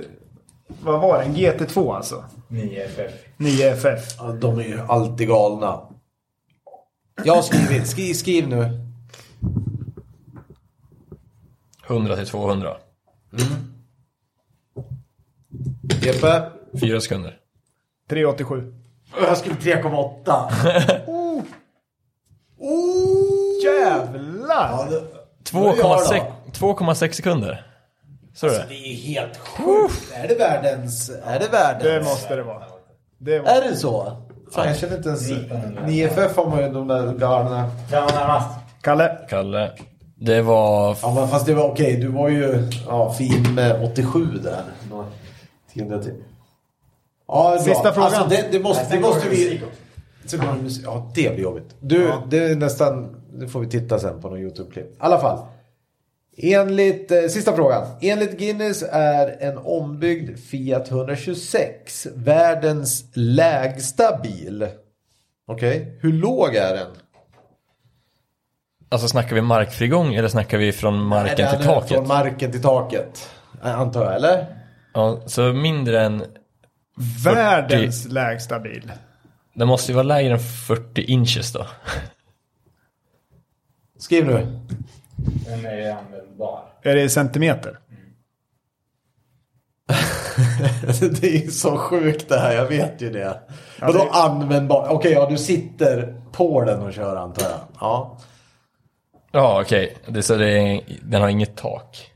S2: Vad var den? GT2 alltså?
S4: 9FF.
S2: 9FF.
S1: Ja, De är ju alltid galna. Jag har skrivit. Skriv, skriv nu.
S3: 100 till 200.
S1: Jeppe.
S3: Fyra sekunder.
S2: 387.
S1: Jag skrev 3,8. Oh.
S2: Jävlar!
S3: 2,6 2,6 sekunder. Så är
S1: Det
S3: det.
S1: är ju helt sjukt. Är det världens... Är det
S2: Det
S1: världens?
S2: måste det vara. Det var...
S1: Är det så? Fan, jag känner inte ens... 9FF har man ju de där galna...
S4: Vem var närmast?
S2: Kalle.
S3: Kalle. Det var...
S1: Ja, men fast det var okej. Du var ju ja, fin med 87 där. Nå, tionde till. Ja, det är bra.
S2: Sista frågan.
S1: Alltså, det, det måste,
S4: Nej, sen
S1: det måste
S4: går det
S1: vi...
S4: musik också.
S1: Så kommer det musik. Ja, det blir jobbigt. Du, det är nästan... Nu får vi titta sen på någon YouTube-klipp. I alla fall. Enligt, eh, sista frågan. Enligt Guinness är en ombyggd Fiat 126 världens lägsta bil. Okej, hur låg är den?
S3: Alltså snackar vi markfrigång eller snackar vi från
S1: Är
S3: marken
S1: den
S3: till taket?
S1: Från marken till taket. eh, Antar jag, eller?
S3: Ja, så mindre än...
S2: Världens lägsta bil.
S3: Det måste ju vara lägre än 40 inches då. (laughs)
S1: Skriv nu. (laughs)
S4: Den är användbar.
S2: Är det i centimeter?
S1: det är ju så sjukt det här, jag vet ju det. Vadå användbar? Okej, ja du sitter på den och kör antar jag. Ja.
S3: Ja, okej. Det, så det, den har inget tak.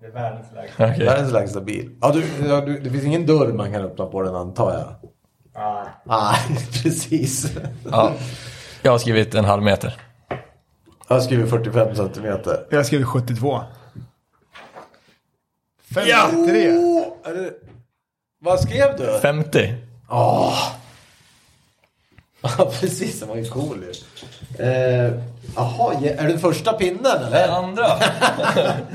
S4: Det är världens lägsta.
S1: Det
S3: Okej.
S1: här är en slags bil. Ja, du, ja, du, det finns ingen dörr man kan öppna på den antar jag.
S4: Ah,
S1: Nej, (laughs) precis.
S3: Ja. Jag har skrivit en halv meter.
S1: Jag skriver 45 centimeter.
S2: Jag skriver 72. 53.
S1: Oh, är det... Vad skrev du?
S3: 50.
S1: (laughs) Ja, precis. Den var ju cool ju. Eh, Jaha, ja, är det första pinnen eller?
S3: Andra.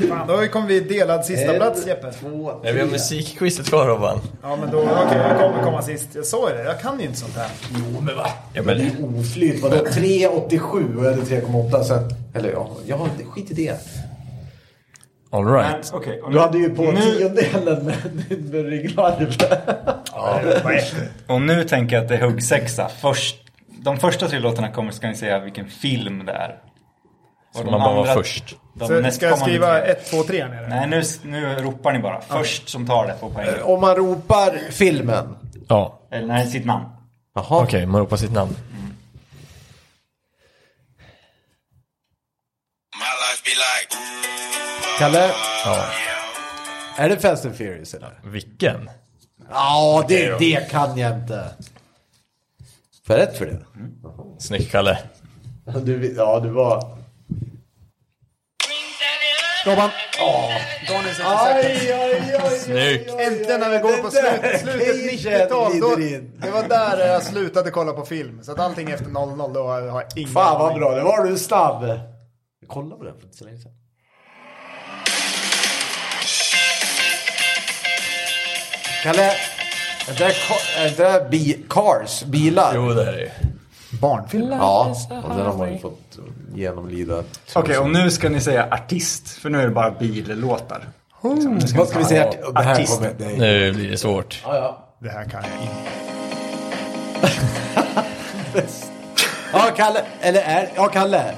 S2: Fan, då kom vi delad
S1: Eh,
S2: sista plats Jeppe.
S1: Två,
S3: Nej, vi har
S1: tre.
S3: musikquizet kvar Robban.
S2: Ja men då, okej jag kommer komma sist. Jag sa ju det, jag kan ju inte sånt här.
S1: Jo, men va?
S3: Ja, men-
S1: Det är oflyt. Vadå 3,87 och jag hade 3,8 sen. Eller ja, jag har inte- skit i det.
S3: All
S4: Ah.
S3: right.
S4: okay,
S1: Du hade ju på tiondelen med, med ryggvarv.
S5: Och nu tänker jag att det är huggsexa. Först, de första tre låtarna kommer ska ni säga vilken film det är. Och
S3: Ska
S5: de
S3: man bara
S5: andra-
S3: vara först?
S6: De
S2: Så ska jag
S6: nästkommande
S2: skriva
S6: tre.
S2: 1, 2, 3 här nere?
S6: Nej, nu, nu ropar ni bara. Först som tar det får poäng.
S1: Om man ropar filmen.
S7: Ja,
S6: Eller nej, sitt namn.
S1: Jaha.
S7: okej, man ropar sitt namn.
S8: My life be like, ooh,
S1: Kalle,
S7: Ja.
S1: är det Fast and Furious eller?
S7: Vilken?
S1: Ja, det, det kan jag inte. Får jag rätt för det?
S7: Snyggt Kalle.
S1: Du, ja, du var...
S2: Robban? Danielsson
S1: Aj, aj, aj.
S7: Snyggt.
S2: Äntligen när vi går på slut, slutet 90-tal. Då,
S1: glider in.
S2: det var där jag slutade kolla på film. Så att allting efter 00 då har jag ingen
S1: Fan vad
S2: aning.
S1: bra, det var du snabb. Jag kollade på den för inte så länge sedan. Kalle, är det där, ka- är det där bi, Cars? Bilar?
S7: Jo, det här är ju.
S2: Barnfilm?
S1: Ja, och den har man ju fått genomlida.
S6: Okej, och nu ska ni säga artist. För nu är det bara billåtar.
S1: Vad ska vi säga? Det här kommer... Nej.
S7: Nu blir det svårt.
S1: Ja, ja.
S2: Det här kan jag inte.
S1: ja, Kalle. Eller är... Ja, Kalle.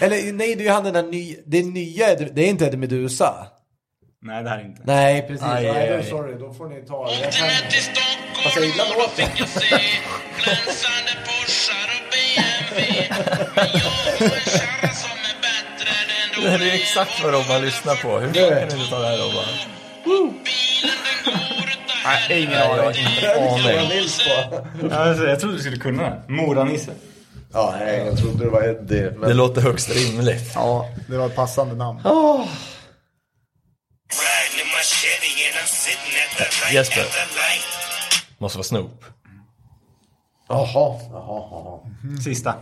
S1: Eller nej, det är ju han den där ny, det nya, Ed- det är inte Eddie Meduza.
S6: Nej, det här är inte.
S1: Nej, precis.
S6: Aj,
S1: Nej,
S6: aj,
S1: då,
S6: aj.
S1: Sorry, då får ni ta
S8: Åk
S1: det.
S8: till Nättis
S1: Alltså,
S8: Stockholm,
S1: illa låter.
S8: glansande Porschar och BMW. Men jag har en kärra som är bättre
S7: (laughs)
S8: än
S7: Det här är ju exakt vad Robban lyssnar på. Hur fan kan du inte ta det här Robban?
S8: Bilen den går utan
S2: Nej, ingen aning.
S7: Aning.
S6: Alltså, jag trodde du skulle kunna det. Moranisse.
S1: Ja, nej, jag trodde det var Eddie.
S7: Det
S1: Men...
S7: låter högst rimligt.
S2: Ja, det var ett passande namn.
S8: Riding in my Chevy and I'm sitting at the right
S7: Jesper.
S8: at the light.
S7: Måste vara Snoop.
S1: Jaha, jaha, jaha.
S6: Sista.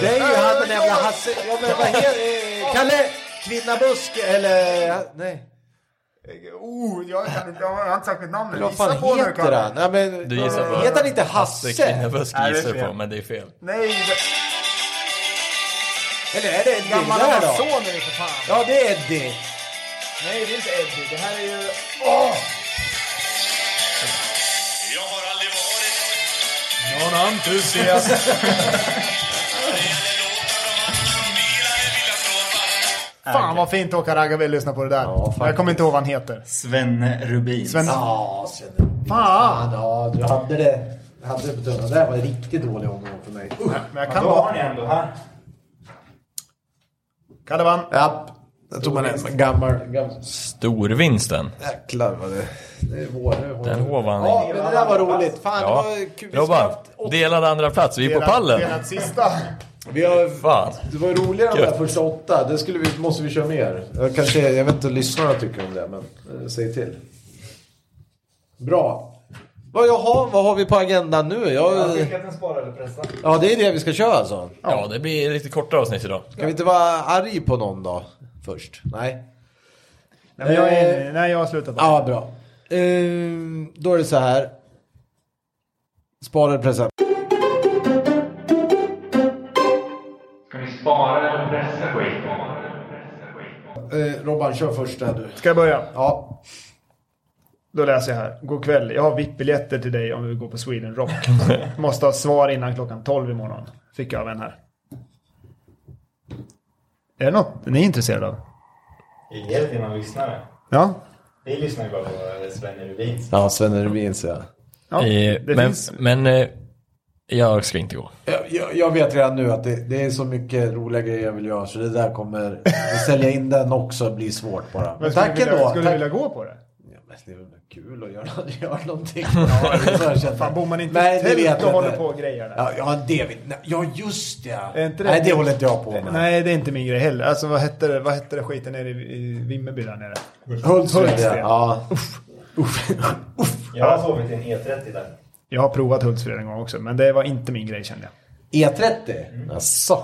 S1: Det är ju han den jävla Hasse... Ja, men vad heter... eh, Kalle Kvinnabusk eller... Nej.
S2: Oh, jag, kan, jag har inte sagt mitt namn.
S1: Eller vad fan heter han? Ja, men,
S7: Du gissar på-
S1: Heter han inte
S7: Det
S1: Hasse?
S7: kan jag bara
S6: Nej, det är
S7: gissa
S6: fel.
S7: på, men det är fel.
S2: Nej, det-
S1: Eller är det Eddie?
S2: gamla
S1: Där då?
S2: Amazoner är för fan.
S1: Ja, det är Eddie.
S2: Nej, det är inte Eddie. Det här är ju...
S8: Jag har aldrig varit
S2: Någon entusiast. Fan vad fint Håkan Raggarvall lyssna på det där. jag kommer inte ihåg vad han heter.
S6: Svenne Rubin.
S2: Sven...
S1: Ja, Sven.
S2: Fan.
S1: Ja, du hade det. Jag hade det på tunnan. Det här var en riktigt dålig omgång för mig.
S2: Men jag
S4: Då
S2: kan
S4: har
S2: vara...
S4: ni ändå här.
S2: Kalle vann.
S1: Ja, där tog man en gammal... gammal
S7: Storvinsten.
S1: jäklar vad det... Det är vår. det är vår.
S7: Den hovan.
S1: Ja, men det där var roligt. Fan,
S7: Ja.
S1: det var kul. Vi skulle
S7: Robban,
S1: haft åtta-
S7: delad andra plats. Vi är på
S2: Delat-
S7: pallen.
S2: delat sista.
S1: Vi har
S7: Fan.
S1: Det var ju roligare de där
S7: Gött.
S1: första åtta. Det skulle vi, måste vi köra mer. Jag, kanske, jag vet inte hur lyssnarna tycker om det, men eh, säg till. Bra. Vad, jaha, vad har vi på agendan nu?
S4: Jag
S1: Jag,
S4: tycker att den sparar eller pressar.
S1: ja, det är det vi ska köra alltså.
S7: Ja, det blir lite kortare avsnitt idag.
S1: Ska vi inte vara arg på någon då? Först? Nej.
S2: Nej, men jag är... Eh, Nej, jag har slutat. bara.
S1: Ja, bra. Ehm, då är det så här. Spara eller pressa?
S9: Ska ni spara eller pressa skiten?
S1: Eh, Robban, kör först där du.
S2: Ska jag börja?
S1: Ja.
S2: Då läser jag här. God kväll. Jag har VIP-biljetter till dig om vi går på
S1: (laughs)
S2: Sweden Rock. Måste ha svar innan klockan 12 imorgon. Fick jag av en här. Är det något ni är intresserade av?
S4: Helt innan lyssnare.
S2: Ja.
S4: Vi lyssnar ju bara på Svenne Rubin.
S1: Ja, Sven Rubin säger jag.
S2: ja
S7: Eh,
S2: det
S7: Men,
S2: finns.
S7: men eh, jag ska inte gå.
S1: Jag, jag, jag vet redan nu att det, det är så mycket roliga grejer jag vill göra så det där kommer... att Sälja in den också blir svårt bara. Men
S2: Men skulle
S1: tack
S2: du vilja,
S1: ändå.
S2: Skulle
S1: tack.
S2: du vilja gå på det?
S1: Ja, men det är väl kul att göra, (laughs) göra någonting. Ja, det är så jag känner.
S2: Fan, bor man inte i
S1: Nej, det
S2: tält
S1: vet
S2: och
S1: jag
S2: håller
S1: inte.
S2: på och grejer där?
S1: Ja, ja, det vet, nej, ja just det.
S2: Är inte det-
S1: Nej, det håller inte jag på med.
S2: Nej, det är inte min grej heller. Alltså vad hette det, vad hette det skiten nere i, i Vimmerby där nere?
S1: Hultsfred.
S2: Hultsfred.
S1: Ja. Uff. Uff. Uff.
S4: Jag har sovit i en E30 där.
S2: Jag har provat Hultsfred en gång också, men det var inte min grej kände jag.
S1: E30? E
S2: Mm.
S1: Jaså?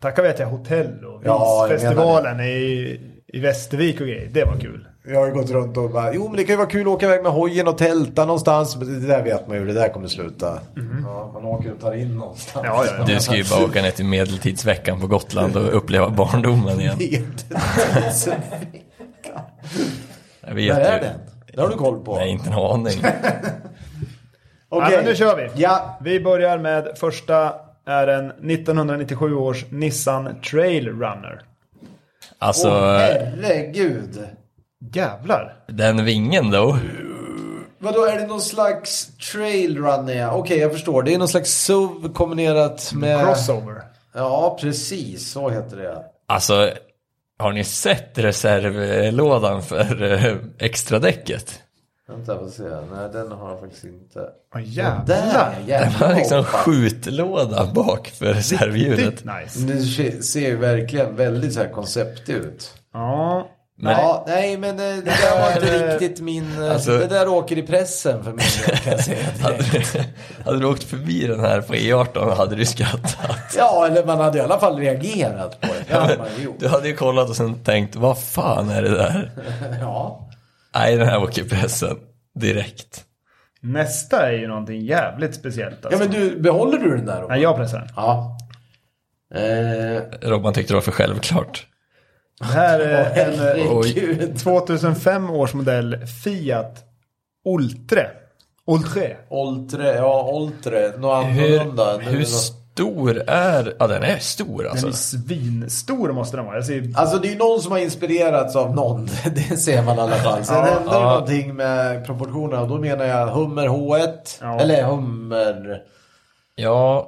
S2: Tacka vet jag hotell och
S1: Ja, jag
S2: visfestivalen i, i Västervik och grejer. Det var kul.
S1: Jag har ju gått runt och bara, jo men det kan ju vara kul att åka iväg med hojen och tälta någonstans. Men det där vet man ju hur det där kommer sluta. Ja, man åker och tar in någonstans.
S2: Mm-hmm. Ja,
S1: (laughs)
S2: ja, ja.
S7: Du ska ju bara åka ner till medeltidsveckan på Gotland och uppleva
S1: (laughs)
S7: barndomen igen.
S1: Det är inte-
S7: Jag
S1: Där
S7: vet
S1: är
S7: ju.
S1: den. Det har du koll på?
S3: Nej, inte en aning.
S1: (laughs) Okej.
S2: Ja, men nu kör vi.
S1: Ja.
S2: Vi börjar med första är en 1997 års Nissan Trail Runner.
S3: Alltså,
S1: Åh, herregud.
S2: Jävlar.
S3: den vingen då.
S1: Vadå, är det någon slags trailrunner? ja? Okej, jag förstår. Det är någon slags SUV kombinerat med...
S2: Crossover.
S1: Ja, precis. Så heter det.
S3: Alltså, har ni sett reservlådan för eh, extradäcket?
S1: Vänta, får se. Nej, den har jag faktiskt inte. Där,
S2: Oh, jävlar.
S3: Den
S1: jävlar.
S3: har liksom
S1: hoppa.
S3: skjutlåda bak för reservhjulet.
S2: Riktigt nice.
S1: Det se- ser ju verkligen väldigt så här koncept ut.
S2: Ja.
S3: Men
S1: Ja, nej men eh, det där var (laughs) inte riktigt min... eh,
S3: Alltså-
S1: Det där åker i pressen för min del kan jag säga.
S3: (laughs) hade, du, hade du åkt förbi den här på E18 hade du
S1: (laughs)
S3: skrattat.
S1: Ja, eller man hade i alla fall reagerat på det. Det hade man (laughs) ju gjort.
S3: Du hade ju kollat och sen tänkt, vad fan är det där?
S1: Ja.
S3: Nej, den här åker i pressen direkt.
S2: Nästa är ju någonting jävligt speciellt.
S1: ja,
S2: Alltså.
S1: men du, behåller du den där då?
S2: Nej, jag pressar den.
S1: Ja. Eh,
S3: Robban tyckte det var för självklart.
S2: Det här är en eh,
S1: herregud.
S2: 2005 års modell Fiat Oltre. Oltre.
S1: Oltre, ja oltre. Något annorlunda.
S3: Hur,
S1: Nu-
S3: hur stor är... Ja, den är stor
S2: Den
S3: alltså.
S2: är svinstor måste den vara. Jag ser
S1: Alltså det är ju någon som har inspirerats av
S3: (laughs)
S1: någon. Det ser man i alla fall. Sen hände det någonting med proportionerna. Och då menar jag Hummer H1.
S2: Ja.
S1: Eller Hummer...
S3: Ja,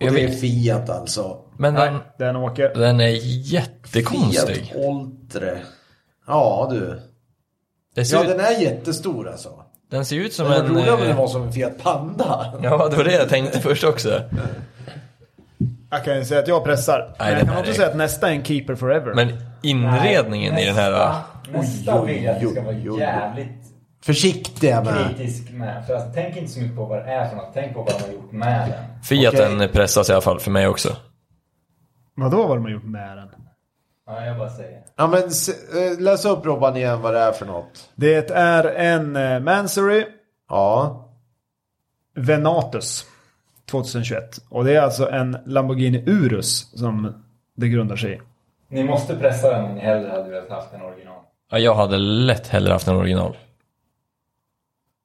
S1: Och
S3: Jag
S1: det är
S3: vet.
S1: Fiat alltså.
S3: men den,
S2: den åker.
S3: den är
S1: Fiat
S3: jättekonstig.
S1: Oltre. Ja du.
S3: Det ser
S1: Ja
S3: ut,
S1: den är jättestor alltså.
S3: den ser ut som
S1: Men
S3: en...
S1: roligare om den
S3: eh,
S1: var som en Fiat Panda.
S3: (laughs) Ja, det var det jag tänkte först också.
S2: Jag kan ju säga att jag pressar. Men
S3: den
S2: jag kan
S3: här
S2: också
S3: är-
S2: säga att nästa är en Keeper Forever.
S3: Men inredningen i den här... eh,
S4: Nästa, nästa vill jag att du ska vara
S1: oj, oj, oj.
S4: jävligt
S1: Försiktiga med.
S4: kritisk med. För alltså, tänk inte så mycket på vad det är för något. Tänk på vad de har gjort med den.
S3: Fiaten pressas i alla fall för mig också.
S2: Vadå vad de har gjort med den?
S4: Ja, jag bara säger.
S1: Ja men s- eh, läs upp Robban igen vad det är för något.
S2: Det är en eh, Mansory
S1: Ja.
S2: Venatus 2021. Och det är alltså en Lamborghini Urus som det grundar sig i.
S4: Ni måste pressa den om ni hellre hade velat haft en original.
S3: Ja, jag hade lätt hellre haft en original.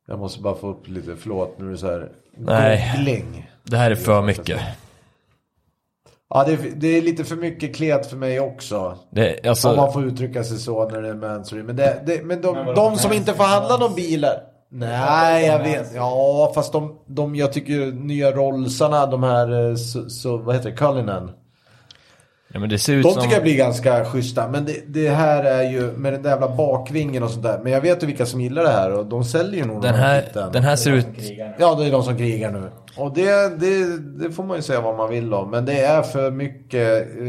S1: Jag måste bara få upp lite, förlåt nu är det så här.
S3: Nej.
S1: Googling.
S3: Det här är för mycket.
S1: Ja det är, det är lite för mycket klet för mig också.
S3: Det,
S1: Om
S3: alltså,
S1: man får uttrycka sig så när det är Mansory. Men, det, det, men de,
S4: Men vadå,
S1: de som
S4: Mansory?
S1: inte får handla någon bilar. Nej, jag vet. Ja, fast de, de jag tycker nya Rollsarna, de här, eh, så, så, vad heter det, Cullinan.
S3: ja, men det ser ut
S1: De
S3: som...
S1: tycker jag blir ganska schyssta. Men det, det här är ju med den där jävla bakvingen och sånt där. Men jag vet ju vilka som gillar det här och de säljer ju nog
S3: Den här,
S1: skiten.
S3: den här ser ut...
S4: Krigarna.
S1: Ja, det är de som krigar nu. Och det, det, det får man ju säga vad man vill om. Men det är för mycket eh,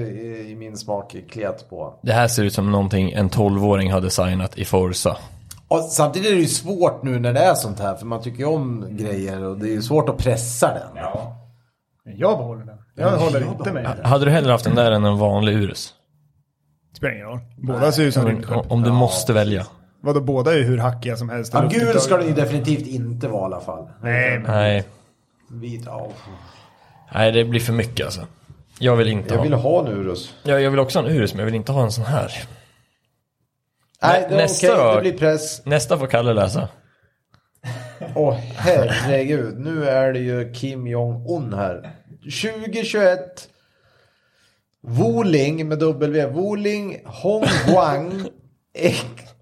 S1: i min smak klet på.
S3: Det här ser ut som någonting en 12-åring har designat i Forza.
S1: Och samtidigt är det ju svårt nu när det är sånt här. För man tycker ju om grejer och det är ju svårt att pressa den.
S4: Ja.
S2: Jag behåller den. Jag håller inte mig i den.
S3: Hade du hellre haft den där än en vanlig Urus?
S2: Spelar ingen roll. Båda ser ju ut som rymdskepp.
S3: Om du måste välja.
S2: Vadå båda är ju hur hackiga som helst.
S1: Ja, gul ska den ju definitivt inte vara i alla fall.
S2: Nej, men-
S3: Nej,
S1: Vit, ja.
S3: nej det blir för mycket alltså. Jag vill inte
S1: Jag
S3: ha...
S1: vill ha en Urus.
S3: Ja, jag vill också ha en Urus, men jag vill inte ha en sån här.
S1: Nej, det är
S3: nästa
S1: okej.
S3: då.
S1: Det blir press.
S3: Nästa får Kalle läsa.
S1: Åh herregud. Nu är det ju Kim Jong-Un här. 2021. Woling med W. Woling Hongguang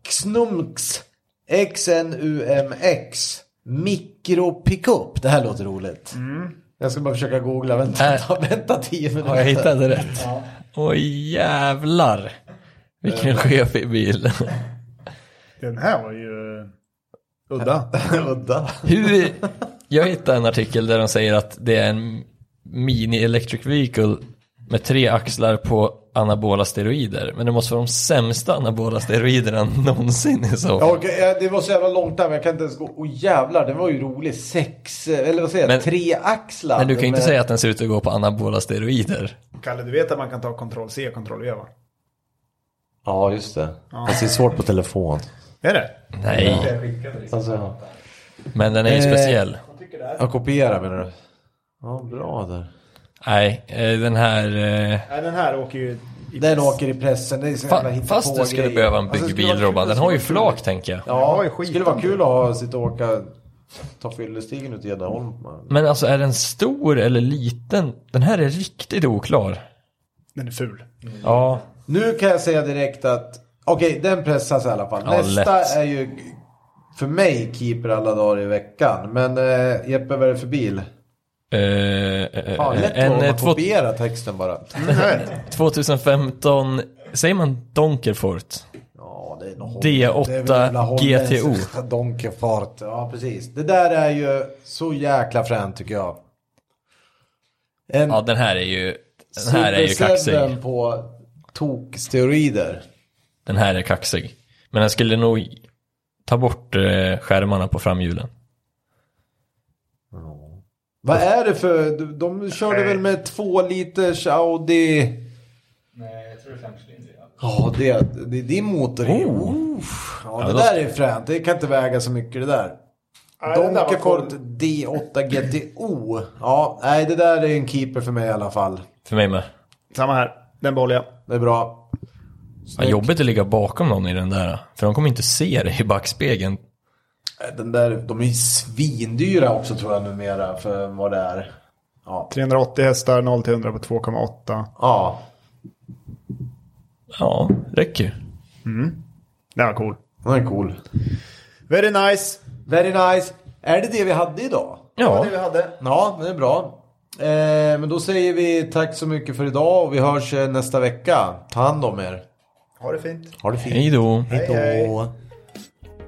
S1: Xnumx XNUMX Mikro Pickup. Det här låter roligt. Jag ska bara försöka googla. Vänta,
S3: Äh.
S1: ta, vänta tio minuter.
S3: Mm. Har jag
S1: (laughs)
S3: hittat det rätt? Oj jävlar! Vilken
S1: Eh.
S3: skevig bil.
S2: Den här var ju udda.
S1: Udda.
S3: Hur... Jag hittade en artikel där de säger att det är en mini electric vehicle med tre axlar på anabola steroider. Men det måste vara de sämsta anabola steroiderna någonsin i så fall.
S1: Ja, okej, eh, det var så jävla långt där men jag kan inte ens gå. Åh jävlar, det var ju roligt. Sex, eh, eller vad säger
S3: Men-
S1: jag? Tre axlar.
S3: Men du kan ju inte
S1: med-
S3: säga att den ser ut att gå på anabola steroider.
S2: Kalle, du vet att man kan ta kontroll C och kontroll V va?
S1: Ja, just det. Fast det är svårt på telefon.
S2: Är det?
S3: Nej,
S4: Jag skickade liksom.
S1: Alltså,
S3: men den är ju
S1: Eh.
S3: speciell.
S1: jag kopierar menar du? Ja, bra där.
S3: Nej, eh, den här... eh,
S2: Nej, den här åker ju i
S1: Den
S2: press.
S1: åker i pressen. Det är så jävla
S3: Fa- fast du skulle
S1: hittepågrejer.
S3: behöva en
S2: Alltså, det skulle
S3: byggbil
S2: vara kul
S3: Robban,
S2: att
S3: den har ju
S2: se.
S3: flak tänker jag.
S1: Ja,
S2: Ja, i
S1: det
S2: skiten.
S1: skulle vara kul att ha, sitta och åka, ta fyllestigen ut i Gäddaholm. man.
S3: Men alltså är den stor eller liten? Den här är riktigt oklar.
S2: Den är ful.
S3: Ja,
S1: Nu kan jag säga direkt att, okej den pressas i alla fall.
S3: Ja,
S1: Nästa
S3: lätt.
S1: är ju för mig keeper alla dagar i veckan. Men eh, Jeppe, vad är det för bil?
S3: eh, eh,
S1: Fan, lätt
S3: en
S1: att
S3: eh, två,
S1: kopiera texten bara.
S2: Jag vet.
S3: 2015, säger man Donkerfort?
S1: Ja, det är nog
S3: D8
S1: det är väl jävla holländskt.
S3: GTO.
S1: (laughs) Donkefart. Ja, precis. Det där är ju så jäkla fränt tycker jag. En
S3: Ja, den här är ju, den här är ju
S1: Super Seven
S3: kaxig.
S1: på toksteroider.
S3: Den här är kaxig. Men den skulle nog ta bort eh, skärmarna på framhjulen.
S1: Vad är det för... de- De körde väl med två liters Audi...
S4: Nej, jag tror det är femcylindrig. ja.
S1: Ja, det, det är din motor. Oh. Ja, det
S3: då-
S1: där är fränt. Det kan inte väga så mycket det där.
S2: Nej, den där var
S1: Donkefort
S2: cool.
S1: D8 GTO. Ja, nej det där är en keeper för mig i alla fall.
S3: För mig med.
S2: Samma här. Den behåller jag.
S1: Det är bra.
S3: Vad jobbigt att ligga bakom någon i den där. För de kommer inte se dig i backspegeln.
S1: Eh, Den där, de är ju svindyra också tror jag numera för vad det är. Ja.
S2: 380 hästar, 0 till 100 på 2,8.
S1: Ja.
S3: Ja, räcker ju.
S2: Den var cool.
S1: Den är cool.
S2: Very nice.
S1: Very nice. Är det det vi hade idag?
S2: Det var
S3: Ja,
S2: det vi hade.
S1: Ja, det är bra. Eh, men då säger vi tack så mycket för idag och vi hörs eh, nästa vecka. Ta hand om er.
S2: Ha det fint.
S1: Ha det fint.
S3: hej då.
S1: Hej då.